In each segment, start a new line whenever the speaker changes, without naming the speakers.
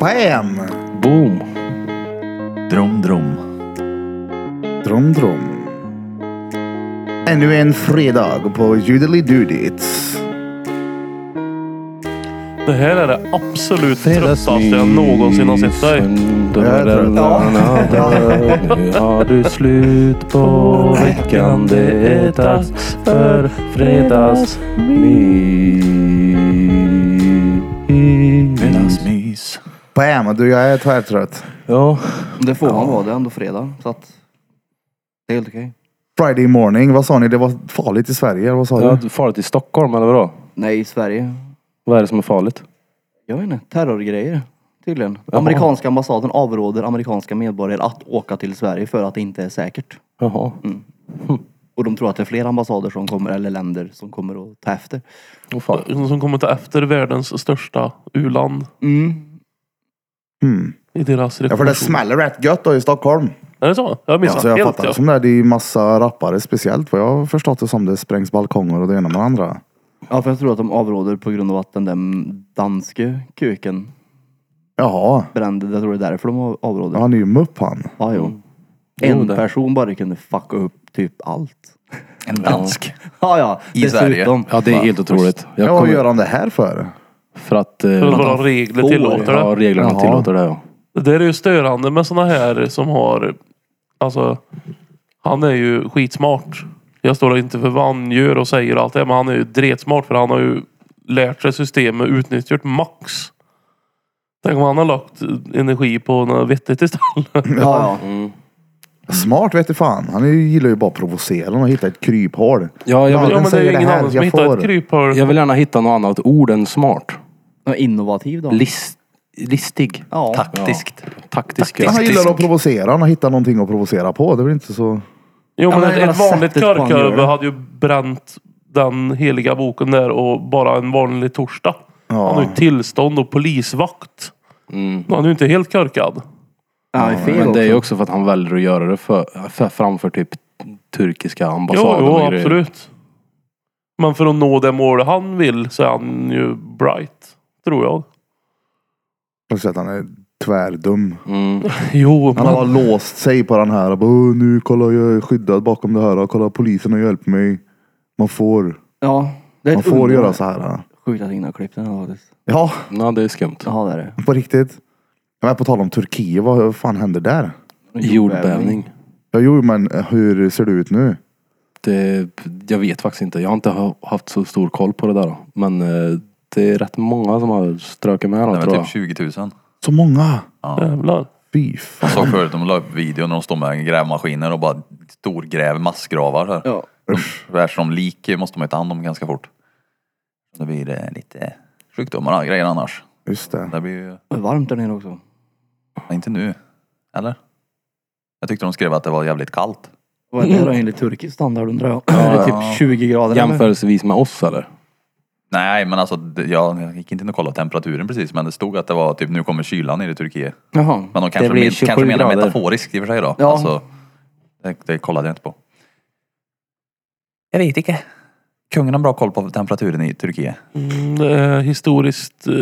Bam!
Boom!
Drom, drom.
Drom, drom. Ännu en fredag på Judelidoodits.
Det här är det absolut tröttaste
Fredagsmys.
jag någonsin har sett dig.
Söndag-
Jag tror det.
Nu har du slut på veckan. Det är dags för fredagsmys.
Fredagsmys.
Bam! Du, jag är tvärtrött.
Ja,
Det får man vara, det är ändå fredag. Så att det är helt okej.
Friday morning, vad sa ni? Det var farligt i Sverige, eller vad sa
det
du?
är farligt i Stockholm eller vadå?
Nej, i Sverige.
Vad är det som är farligt?
Jag vet inte, terrorgrejer. Tydligen. Amerikanska ambassaden avråder amerikanska medborgare att åka till Sverige för att det inte är säkert.
Jaha.
Och de tror att det är fler ambassader som kommer, eller länder som kommer att ta efter.
Åh fan.
Som kommer ta efter världens största u-land
Mm.
Hmm.
i deras
Ja, för
revolution.
det smäller rätt gött då i Stockholm.
Är det så? Jag missade
Alltså jag
helt.
fattar det
Ja.
som det. är. Det är ju massa rappare speciellt vad jag har förstått det som. Det sprängs balkonger och det ena med det andra.
Ja, för jag tror att de avråder på grund av att den där danske kuken
Jaha.
brände. Jag tror det är därför de av- avråder. Ja,
Han är ju mupp han.
jo.
Mm. Jo,
En
det-
person bara kunde fucka upp typ allt.
En dansk.
Ja, ja.
I Sverige.
Ja, det är helt otroligt.
Ja,
Jag
vad gör
kommer
han det här
Mm.
för?
för att... eh,
För att våra regler
får-
tillåter det.
Ja, reglerna
Jaha.
tillåter det ja.
Det där är ju störande med såna här som har... Alltså, han är ju skitsmart. Jag står inte för vad han gör och säger och allt det men han är ju dretsmart för han har ju lärt sig systemet och utnyttjat max. Tänk om han har lagt energi på något vettigt istället.
Ja, ja.
Smart vet du fan. Han är ju, gillar ju bara att provocera och hitta ett kryphål.
Ja, jag
Ja,
vill,
Ja men det är
säger
ju
det
ingen
här,
annan som
jag
hittar
får-
ett kryphål.
jag vill gärna hitta något annat ord än smart.
Ja, Innovativ då.
List, listig.
Ja.
Taktiskt.
Taktisk.
Han
Taktisk.
gillar att provocera. Han hittar någonting att provocera på. Det är väl inte så...
Jo
Ja,
men
men
ett,
jag
ett
menar
vanligt
sättet på han gör
körkorv
det.
hade ju bränt den heliga boken där och bara en vanlig torsdag. Han har ju tillstånd och polisvakt.
Mm.
Han är ju inte helt körkad.
Ja, det är fel
Men det är ju
också.
också för att han väljer att göra det för, för, framför typ turkiska
Jo,
ambassaden
jo
och grejer.
absolut. Men för att nå det mål han vill så är han ju bright. Tror jag.
Jag säga att han är tvärdum.
Mm.
Jo,
Han
men...
har låst sig på den här. och bara, "Åh, nu kolla jag är skyddad bakom det här. och Kolla polisen har hjälpt mig. Man får,
Ja, det är
man
ett
får
under.
göra så här.
Sjukt att ingen har klippt den här faktiskt.
Ja,
Nej, det är skumt.
Jaha, det är det.
på riktigt. Ja, Men på tal om Turkiet, vad fan händer där?
Jordbävning.
Ja, jo, men eh, hur ser det ut nu?
Det, jag vet faktiskt inte. Jag har inte ha- haft så stor koll på det där. Men eh, det är rätt många som har strökat med
Det
då,
var
tror jag.
typ 20 000.
Så många!
Jävlar.
Fy
Jag
fan.
såg förut de la upp video när de står med grävmaskiner och bara storgräver massgravar här.
Ja.
De, eftersom lik måste man ju ta hand om ganska fort. Då blir det lite sjukdomar och grejer annars.
Just det.
Det blir ju,
Det är varmt där nere också.
ja, inte nu. Eller? Jag tyckte de skrev att det var jävligt kallt.
Vad är det då enligt turkisk standard undrar jag? är det
ja.
typ 20 grader eller?
Jämförelsevis med oss eller?
Nej men alltså det- jag, jag gick inte in och kollade temperaturen precis men det stod att det var typ nu kommer kylan ner i Turkiet.
Jaha.
Men de kanske,
blir
men,
27
kanske menar
grader.
metaforiskt i och för sig då.
Ja.
Alltså, det, det kollade jag inte på. Jag vet inte. Kungen har bra koll på temperaturen i Turkiet.
Mm, det är historiskt eh,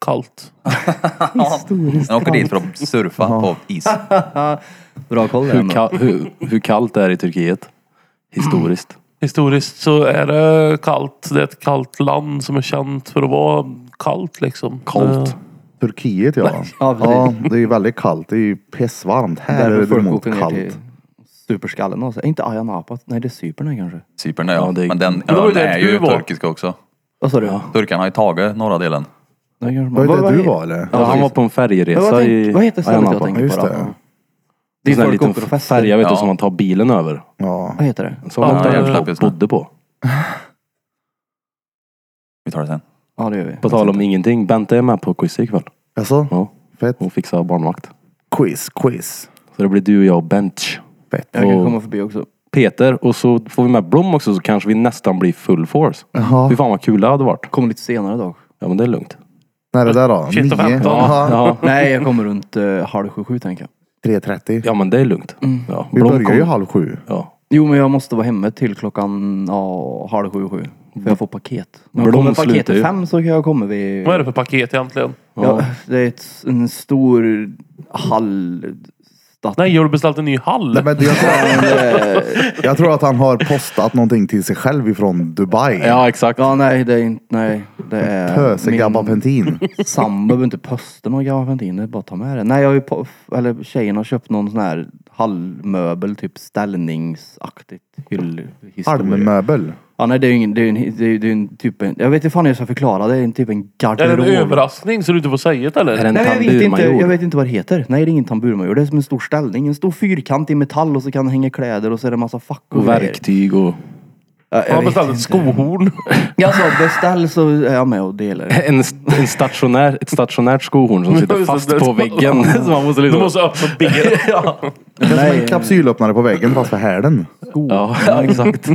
kallt.
Han åker dit för att surfa på is.
Bra koll
Hur,
där
ka- hur, hur kallt det är i Turkiet? Historiskt.
Historiskt så är det kallt. Det är ett kallt land som är känt för att vara kallt liksom.
Kallt.
Eh,
Turkiet ja.
Ja, precis.
Ja, det är ju väldigt kallt. Det är ju pissvarmt. Här är
Därför
det
folk
däremot
åker ner till
kallt.
superskallen alltså. Inte Ayia Napa. Nej, det är Cypern här kanske.
Cypern ja.
Ja, det är-
Men den
det var ju
ön
där
är
du
ju
var.
turkisk också.
Vad sa du?
Ja.
Turkarna har ju tagit norra delen.
Nej, kanske man-
Var det
vad-
där du
vad-
var eller?
Ja,
Ja, han var
precis.
på en
Men vad
färjeresa
tänk-
i
Vad heter stället jag
Ayanapa.
tänker på
Just det.
då? Det är
Sån här
folk
liten
åker och festar.
färja vet du
Ja.
som man tar bilen över.
Ja.
Vad heter det?
Som
Ja,
man
det är
ja,
klart, just det.
bodde på.
Vi tar det sen.
Ja, det gör vi.
På tal om ingenting, Bente är med på quiz ikväll.
Alltså,
Ja,
fett.
hon fixar barnvakt.
Quiz, quiz.
Så det blir du, och jag och Bench.
Fett.
Jag kan
Och-
komma förbi också.
Peter och så får vi med Blom också så kanske vi nästan blir full force.
Jaha.
Fy fan vad kul det hade varit.
Kommer lite senare dock.
Ja men det är lugnt.
När är det där då?
21
9?
och 15.
Jaha.
Ja,
Nej, jag kommer runt eh, halv sju, sju tänker jag.
3.30.
ja men det är lugnt. Ja,
Vi börjar ju
kom-
halv sju.
Ja.
Jo, men jag måste vara hemma till klockan ja, halv sju, sju. För jag får paket. Om
Blom
jag kommer paket
slutar
i
ju.
fem så kan jag komma vid...
Vad är det för paket egentligen?
Ja, det är ett, en stor hall... Stat...
Nej, har du beställt en ny hall?
Nej, men jag, tror,
Eh,
jag tror att han har postat någonting till sig själv ifrån Dubai.
Ja, exakt.
Ja, nej, det är inte... Nej, det är...
Pöse gammal pentin.
sambo behöver inte posta någon gammal ventil. Det är bara att ta med det. Nej, jag har ju... På, eller tjejen har köpt någon sån här hallmöbel, typ ställningsaktigt. Hyllhistoria.
Halmmöbel.
Ja, nej, det är ju ingen... Det är ju en, det är, ju- det är en typ en... Jag vet inte fan hur jag ska förklara. Det är en typ en
Är det en
garderob.
överraskning så du inte får säga
Är
det eller?
det en
Nej, jag vet, inte, jag
tamburmajor?
vet inte vad det heter. Nej, det är ingen tamburmajor. Det är som en stor ställning. En stor fyrkant i metall och så kan det hänga kläder och så är det en massa fack och
Och
grejer.
verktyg och...
Ja,
Han
jag
har
vet
beställt
inte.
ett skohorn.
Ja, så beställ så är jag med och delar.
En, en stationär, ett stationärt skohorn som sitter
Just det,
fast
det-
på väggen. Så man måste
Du
liksom...
måste öppna benet.
Nej,
Kapsylöppnare på väggen fast för härden.
Ja, ja, exakt.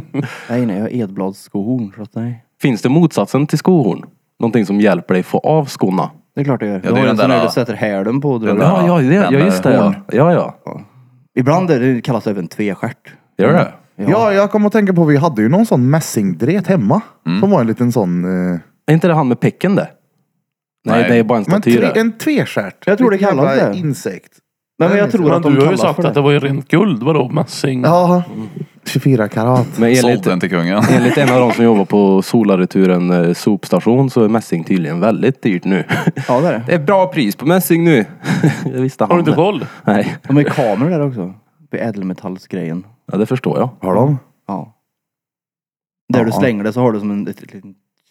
nej, nej, jag har edbladsskohorn. Så att nej.
Finns det motsatsen till skohorn? Någonting som hjälper dig få av skorna?
Det är klart jag gör.
det
jag
är
har
den
en sån
där-
där du sätter hälen på och drar
den
upp.
där-
Ja, ja, det, ja
den
just det. Ja, ja. ja.
Ibland är det, det kallas även tvestjärt.
Gör
Mm.
det?
Ja. jag kom att tänka på vi hade ju någon sån mässingdret hemma. Som var en liten sån... Eh,
Är inte det han med pecken det? Nej,
Nej.
det är bara en
men
staty
tre,
det.
en tvestjärt.
Jag tror det kallas
Jävla
det.
insekt.
Nej, men jag tror
Men
att de
du har ju
kallas för
sagt
det.
att det var ju rent guld. Vadå mässing?
Ja. 24 karat.
Men
Såld
enligt,
den till kungen.
enligt en av de som jobbar på Solareturen eh, sopstation så är mässing tydligen väldigt dyrt nu.
Ja, det är det.
Det är bra pris på mässing nu. Jag visste han
Har du inte
det.
koll?
Nej,
De har ju kameror där också. Vid ädelmetallsgrejen.
ja, det förstår jag.
Har de?
Ja. Där du
Ja.
slänger det så har du som en, ett, litet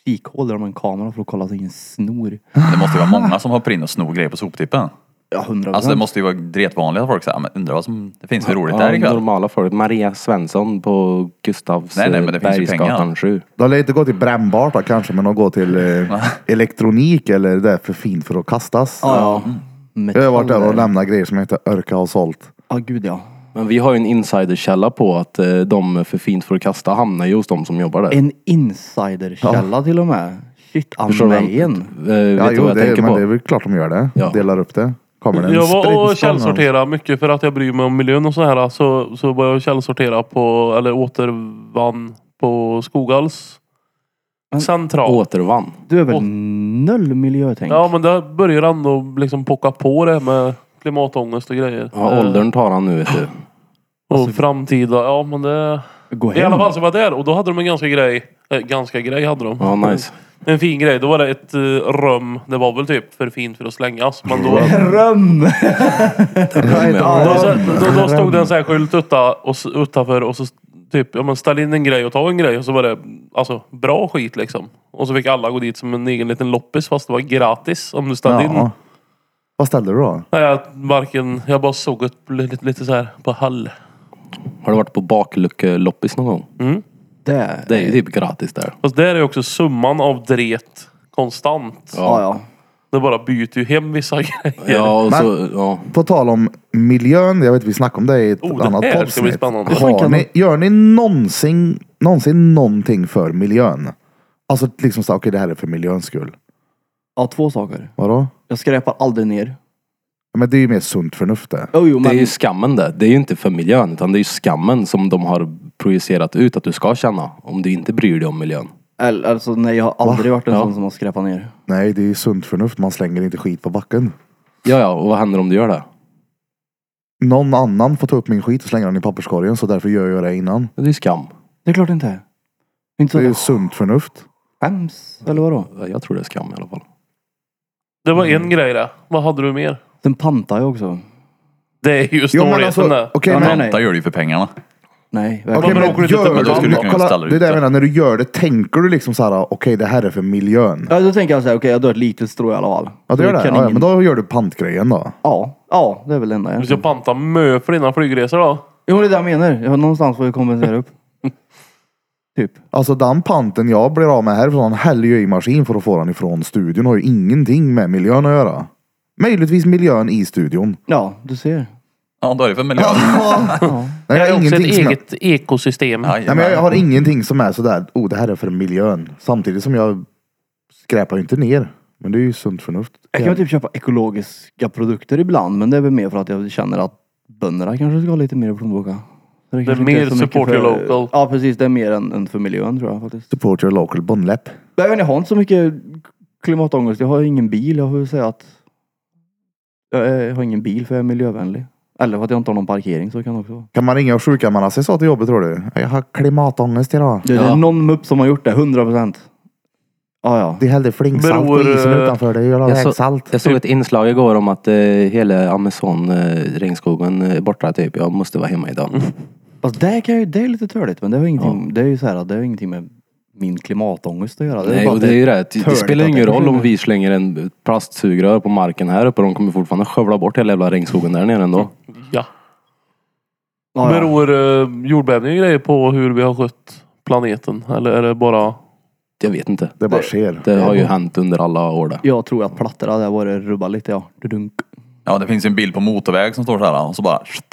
kikhål där de har en kamera för att kolla så ingen snor.
Det måste ju vara många som hoppar in och snor grejer på soptippen.
Ja, hundra
Alltså det
procent.
måste ju vara dretvanligt att folk säger, "Ah, men undrar vad som det finns för roligt där
Ja,
ikväll.
normala folk. Maria Svensson på Gustavs
Nej, nej,
eh,
men det finns ju pengar.
Bergsgatan 7.
De lär inte gå till brännbart då, kanske, men de går till eh, elektronik eller det är för fint för att kastas.
Ja,
Jag har varit där och
Metaller.
lämnat grejer som jag inte orkar ha sålt.
Ja, gud ja.
Men vi har ju en insiderkälla på att eh, de för fint för att kasta hamnar ju hos de som jobbar där.
En insiderkälla till och med. Shit,
Förstår du vem-
amen.
Eh, vet
Ja,
du
jo,
vad jag
det,
tänker
men
på?
det är väl klart de gör det.
Ja.
Delar upp det. Kommer det en
Jag var och
spritstång någonstans?
källsorterade mycket för att jag bryr mig om miljön och så här. Så, så var jag och källsortera på, eller återvann på Skoghals central.
Återvann.
Du är väl
Och-
noll miljötänk?
Ja men där börjar ändå liksom pocka på det med klimatångest och grejer.
Ja,
Eh,
åldern Alltså, tar han nu vet du.
Och framtida, ja men det...
Gå
I
hem.
alla fall så var jag där och då hade de en ganska grej. Eh, ganska grej hade de.
Ja, nice.
En fin grej. Då var det ett eh, rum. Det var väl typ för fint för att slängas. Men då...
Rum! Right,
Då, så,
ja.
då, då stod det en sån här skylt utta, och, s- utanför och så typ, ja men ställ in en grej och ta en grej och så var det alltså bra skit liksom. Och så fick alla gå dit som en egen liten loppis fast det var gratis om du ställde in.
Ja. Vad ställde du då?
Nej, jag, varken, jag bara såg ett bl- lite, lite så här på hall.
Har du varit på bakluckeloppis någon gång?
Det.
Det är ju typ gratis där.
Mm. Fast där är ju också summan av dret konstant.
Ja, ja.
Det bara byter ju hem vissa grejer.
Ja, och så, ja.
På tal om miljön, jag vet vi snackade om det i ett
Oh, det
annat
här ska
poddavsnitt.
bli spännande.
Har ni, gör ni någonsin, någonsin någonting för miljön? Alltså liksom så, okej det här är för miljöns skull.
ja, två saker.
Vadå?
Jag skräpar aldrig ner.
Ja, Men det är ju mer sunt förnuft det.
Oh, jo,
Det är
men
ju skammen där. Det är ju inte för miljön utan det är ju skammen som de har projicerat ut att du ska känna om du inte bryr dig om miljön.
Eller, alltså, nej, jag har aldrig varit en
Ja.
sån som har skräpat ner.
Nej, det är ju sunt förnuft. Man slänger inte skit på backen.
Ja, ja, och vad händer om du gör det?
Någon annan får ta upp min skit och slänga den i papperskorgen så därför gör jag det innan.
Det är ju skam.
Det är klart det inte. är. Inte så
Det är ju
att
sunt förnuft.
jag skäms, eller vadå?
Ja, Jag tror det är skam i alla fall.
Det var en grej det. Vad hade du mer?
Sen pantar jag också.
Det är ju
Jo, men
snålheten
alltså,
det.
okej,
Ja,
men-
nej, nej.
Där gör du ju för pengarna.
Nej, verkligen.
Okej,
men åker du inte till
gör,
Bulgarien?
det,
Då
skulle du kunna
kolla,
ställa
det
ut
är det
det.
jag menar, när du gör det, tänker du liksom så här, okej det här är för miljön.
Ja, då tänker jag så här, okej jag drar ett litet strå i alla fall.
Ja, du gör det?
Kan
Ja, ja,
ingen-
men då gör du pantgrejen då.
ja, ja, det är väl det enda
Du
jag...
ska panta mö för dina flygresor då.
Jo, det är det jag menar. Jag har någonstans får jag kompensera upp. typ.
Alltså den panten jag blir av med härifrån häller ju i maskin för att få den ifrån studion. Har ju ingenting med miljön att göra. Möjligtvis miljön i studion.
Ja, du ser.
Ja, då är det för miljön.
Nej,
Jag
jag
är
har
också ett
ingenting som
eget ekosystem.
Aj,
jag, nej, men jag har ingenting som är sådär, oh det här är för miljön. Samtidigt som jag skräpar ju inte ner. Men det är ju sunt förnuft.
Jag kan väl typ köpa ekologiska produkter ibland, men det är väl mer för att jag känner att bönderna kanske ska ha lite mer i plånboken. Så
Det är
kanske inte
mer
så mycket
support your
för-
local.
Ja precis, det är mer än, än för miljön tror jag faktiskt.
Support your local bonläpp.
Jag, vet inte, jag har inte så mycket klimatångest. Jag har ju ingen bil. Jag får väl säga att jag, är- jag har ingen bil för jag är miljövänlig. Eller för att jag inte har någon parkering så kan det också vara.
Kan man ringa och sjukanmäla till jobbet tror du? Jag har klimatångest idag.
Det, det är någon mupp som har gjort det, 100 procent. Ja, ja.
De hällde flingsalt på
Beror,
isen
eh,
utanför. Det gör
jag så-
vägsalt.
Jag såg ett inslag igår om att eh, hela Amazon, eh, regnskogen är borta typ. Jag måste vara hemma idag.
Fast det, kan ju, det är lite törligt men det har ingenting, det är ju så här, det har ingenting med min klimatångest att göra. Det är
Nej,
bara
och
att det-
det är ju rätt. Det
törligt
spelar
att
ingen
det
roll om
försvinner.
vi slänger en plastsugrör på marken här uppe. De kommer fortfarande skövla bort hela jävla regnskogen där nere ändå.
Ja.
ja, ja.
Beror eh, jordbävning och grejer på hur vi har skött planeten? Eller är det bara...
Jag vet inte.
Det bara sker.
Det har ju hänt under alla år det.
Jag tror att plattor hade varit rubba lite ja. Dudunk.
Ja, det finns ju en bild på motorväg som står så här och så bara... Shit,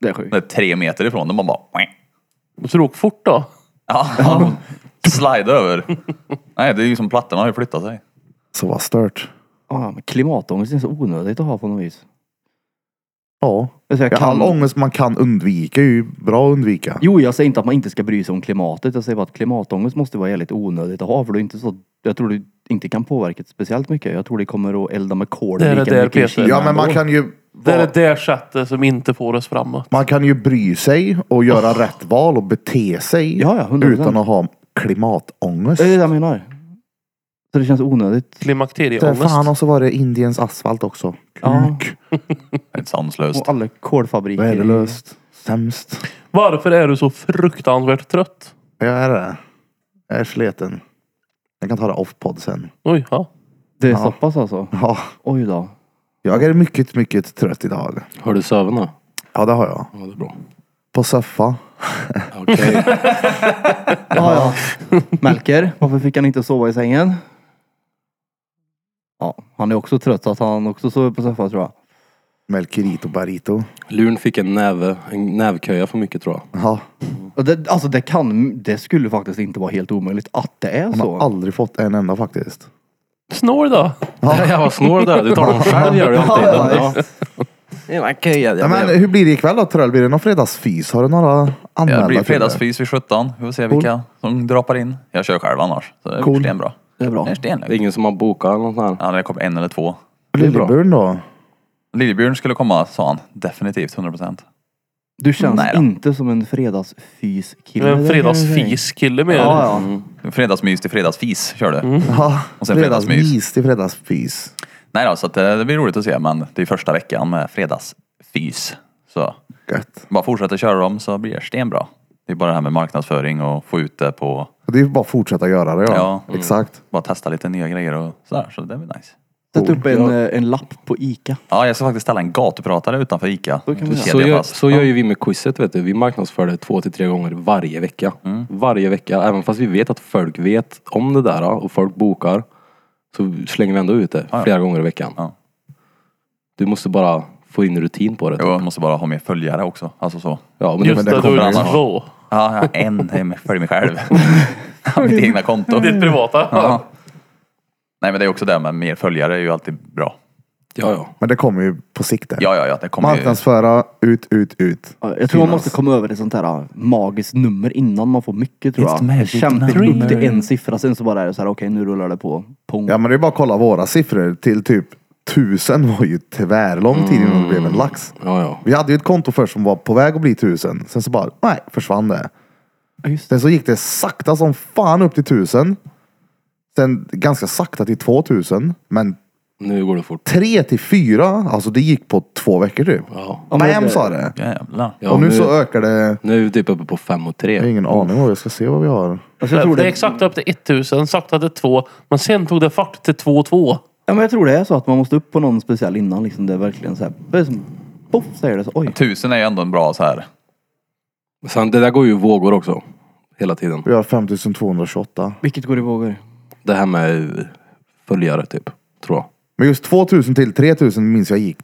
Det är sjukt.
det är tre meter ifrån. Den bara... bara
Så du åker fort då?
ja, slider över. Nej, det är ju som plattorna har ju flyttat sig.
Så vad stört.
Ja, men klimatångest är så onödigt att ha på något vis.
Ja.
Alltså, jag
Ja,
kan...
All ångest man kan undvika är ju bra att undvika.
Jo, jag säger inte att man inte ska bry sig om klimatet. Jag säger bara att klimatångest måste vara jävligt onödigt att ha. För det är inte så... Jag tror du inte kan påverka det speciellt mycket. Jag tror det kommer att elda med kol
Det är det där,
i
Peter.
Kina
Ja men man
ändå.
kan ju...
Det är det där sättet som inte får oss framåt.
Man kan ju bry sig och göra rätt val och bete sig.
Ja, Eh, ja, 100%.
utan att ha klimatångest.
Det är det jag menar. Så det känns onödigt.
Så Fan
Klimakterieångest.
och så var det Indiens asfalt också.
Ja.
Kuk.
Helt sanslöst.
Och alla kolfabriker.
Värdelöst. Sämst.
Varför är du så fruktansvärt trött?
Jag är det. Jag är sliten. Jag kan ta det off-podd sen.
Oj, ja.
Det är
Ja.
så pass alltså.
Ja,
Oj då.
jag är mycket, mycket trött idag.
Har du sövit nu?
Ja, det har jag.
Ja, det är bra.
På soffa.
Okej.
Ja, ja. Melker, varför fick han inte sova i sängen? Ja, han är också trött så att han också sover på soffan tror jag.
Melkerito Barito.
Lurn fick en näve, en nävköja för mycket tror jag.
Ja,
Och det, alltså det kan, det skulle faktiskt inte vara helt omöjligt att det är
han har
så.
aldrig fått en enda faktiskt.
Snår då?
Jag var snål där. Du tar dem själv gör du alltid. Ja, ja. Köja,
Nej, men hur blir det ikväll då Tröll? Blir det någon fredagsfys? Har du några anmälda?
Ja, det blir
till
fredagsfys vid 17. Vi får se vilka som drapar in. Jag kör själv annars. Så det
Cool.
blir stenbra.
Det är bra.
Det är
Det är
stenlugnt.
ingen som har bokat eller något sånt här.
Ja, det kommer en eller två.
det? Lillebjörn
Mm.
då?
Liljebjörn skulle komma sa han. Definitivt, 100 procent.
Du känns
Nej då.
inte som en fredagsfyskille.
En
det kan jag säga.
fredagsfiskille med.
Ja, ja.
Fredagsmys till fredagsfis kör du.
Ja,
Och sen
fredagsmys till fredagsfys.
Nej då, så att eh, det blir roligt att se. Men det är första veckan med fredagsfys. Så
Gött.
bara fortsätta köra dem så blir det stenbra. Det är bara det här med marknadsföring och få ut det på...
Och det är ju bara att fortsätta göra det ja.
Ja. Mm.
Exakt.
Bara testa lite nya grejer och sådär. Så det blir nice.
Sätt upp en, eh, en lapp på Ica.
Ja, jag ska faktiskt ställa en gatupratare utanför Ica.
Så kan vi göra.
Kedja
Så gör,
fast.
så gör ju vi med quizet vet du. Vi marknadsför det två till tre gånger varje vecka. Varje vecka. Även fast vi vet att folk vet om det där och folk bokar. Så slänger vi ändå ut det
ja.
flera gånger i veckan.
Ja.
Du måste bara få in rutin på det.
Jo, jag måste bara ha mer följare också. Alltså så.
Ja, men
Just
det,
det,
det
då
kommer
är det
annars.
två.
Ja, jag har en hem- följer mig själv. Har mitt egna konto.
Ditt privata.
Mm. Ja. Nej men det är också det med mer följare är ju alltid bra.
ja, ja.
Men det kommer ju på sikt där.
Ja, ja, ja, det kommer ju...
Marknadsföra, ut, ut, ut.
Ja, Jag tror man måste komma över ett sånt här ah, magiskt nummer innan man får mycket tror
It's
jag.
magic
Kämpigt
number.
upp till en siffra sen så bara är det så här okej nu rullar det på. Pong.
Ja men det är bara att kolla våra siffror till typ tusen var ju tvärlång tid innan det blev
Mm.
en lax.
ja, ja.
Vi hade ju ett konto först som var på väg att bli tusen. Sen så bara, nej, försvann det.
Ja, just det.
Sen så gick det sakta som fan upp till tusen. Sen ganska sakta till 2000. Men
Nu går det fort.
tre till fyra, alltså det gick på två veckor typ.
Ja.
Ja, men
Bam
det-
sa det.
Jävlar.
Ja,
Och nu så ökar det.
nu är vi typ uppe på fem och
Jag har
tre.
ingen aning vad jag ska se vad vi har.
Alltså, jag tror
Det
det,
är exakt upp till 1000, sakta till 2. Men sen tog det fart till 2-2.
ja, men jag tror det är så att man måste upp på någon speciell innan liksom. Det är verkligen så här. Det är som, poff säger det så. Oj.
Tusen är ju ändå en bra så här.
Sen det där går ju i vågor också. Hela tiden.
Vi har 5228.
Vilket går i vågor?
Det här med eh, följare typ. Tror jag.
Men just 2000 till 3000 minns jag gick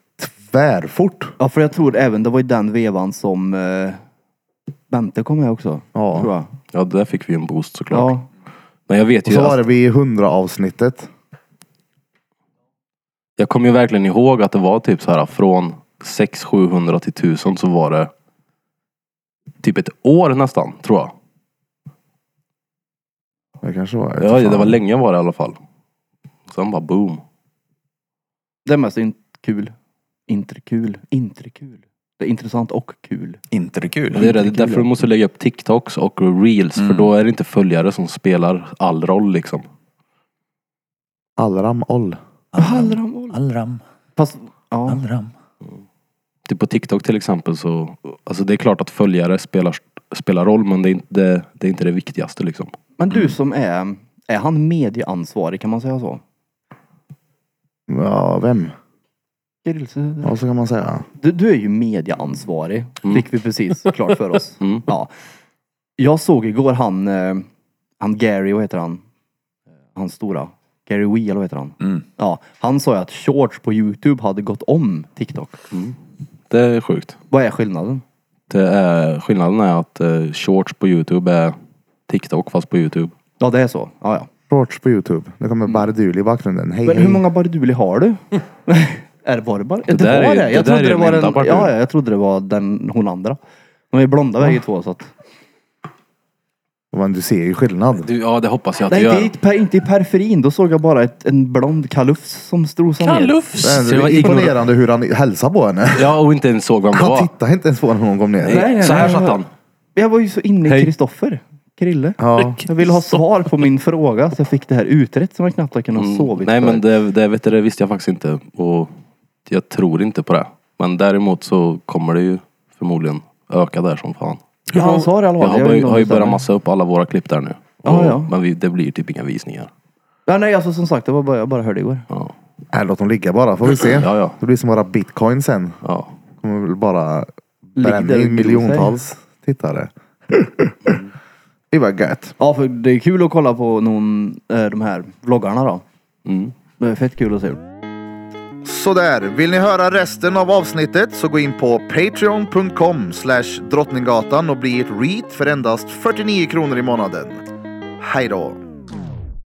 tvärfort.
Ja, för jag tror även det var i den vevan som eh, Bente kom med också.
Ja.
Tror jag.
Ja, där fick vi ju en boost såklart.
Ja.
Men jag vet
Och
ju
så
att
var det vid 100 avsnittet.
Jag kommer ju verkligen ihåg att det var typ så här från 600-700 till 1000 så var det typ ett år nästan, tror jag.
Det kanske var. jag vet
Ja,
inte
det
fan.
var länge var det i alla fall. Sen bara boom.
Det är mest in- kul. Inte kul. Inte kul. Det är intressant och kul.
Inte det kul.
Men Det är det,
Inte
därför
kul.
du måste lägga upp TikToks och reels. För
Mm.
då är det inte följare som spelar all roll liksom.
Allram Oll.
Hallramål.
Allram.
Fast, ja.
Allram.
Typ på TikTok till exempel så, alltså det är klart att följare spelar, spelar roll men det är, inte, det är inte det viktigaste liksom.
Men du som är, är han medieansvarig kan man säga så?
Ja, vem?
Kirillse-
Ja, så kan man säga.
Du, du är ju medieansvarig,
Mm.
fick vi precis klart för oss.
Mm.
Ja. Jag såg igår han, eh, han Gary, vad heter han? Han stora. Gary Wee, eller vad heter han?
Mm.
Ja, han sa ju att shorts på Youtube hade gått om TikTok.
Det är sjukt.
Vad är skillnaden?
Det är, skillnaden är att eh, shorts på Youtube är TikTok fast på Youtube.
Ja, det är så. Ja, ja.
Shorts på Youtube. Det
Mm.
kommer Bardul i bakgrunden. Hej,
Men
hej.
hur många Barduli har du? är det bara det? Det,
där
var
är-
det.
det
Jag
där
trodde
är
det
den
var
enda
den, ja,
Bardul.
ja, jag trodde det var den, hon andra. De är blonda bägge två så att...
Men du ser ju skillnad.
Du, ja det hoppas jag att
Nej,
du
inte,
gör.
i per, inte i periferin. Då såg jag bara ett, en blond kalufs som strosade ner.
Det är
Kalufs!
det var
imponerande hur han hälsade på henne.
Ja och inte ens såg vem det
Han
var.
tittade inte ens på henne när hon kom ner.
Nej, nej,
Så här
nej,
satt
nej.
han.
Jag var ju så inne
Hej.
i Kristoffer. Krille.
Ja.
Jag ville ha svar på min fråga så jag fick det här utrett som jag knappt har kunnat sovit
Mm. Nej men
för.
det, det, vet du, det visste jag faktiskt inte och jag tror inte på det. Men däremot så kommer det ju förmodligen öka där som fan.
ja, han sa det i alla
Jag har,
fall. vet
börj-
inte om
har ju
det stämmer.
börjat massa upp alla våra klipp där nu.
Ja,
Och-
ja.
Men vi, det blir typ inga visningar.
Ja, nej, alltså som sagt, det var bara, jag bara hörde igår.
Ja,
Nej, låt dem ligga bara. Får vi se.
Ja, ja.
Det blir som våra bitcoin sen.
ja.
Kommer väl bara
Ligger
bränna
där och
in
gror sig.
miljontals tittare.
Mm.
Det var gött.
Ja, för det är kul att kolla på någon, eh, de här vloggarna då.
Mm.
Det är fett kul att se.
Sådär, vill ni höra resten av avsnittet så gå in på patreon.com slash drottninggatan och bli ett read för endast 49 kronor i månaden. Hej då!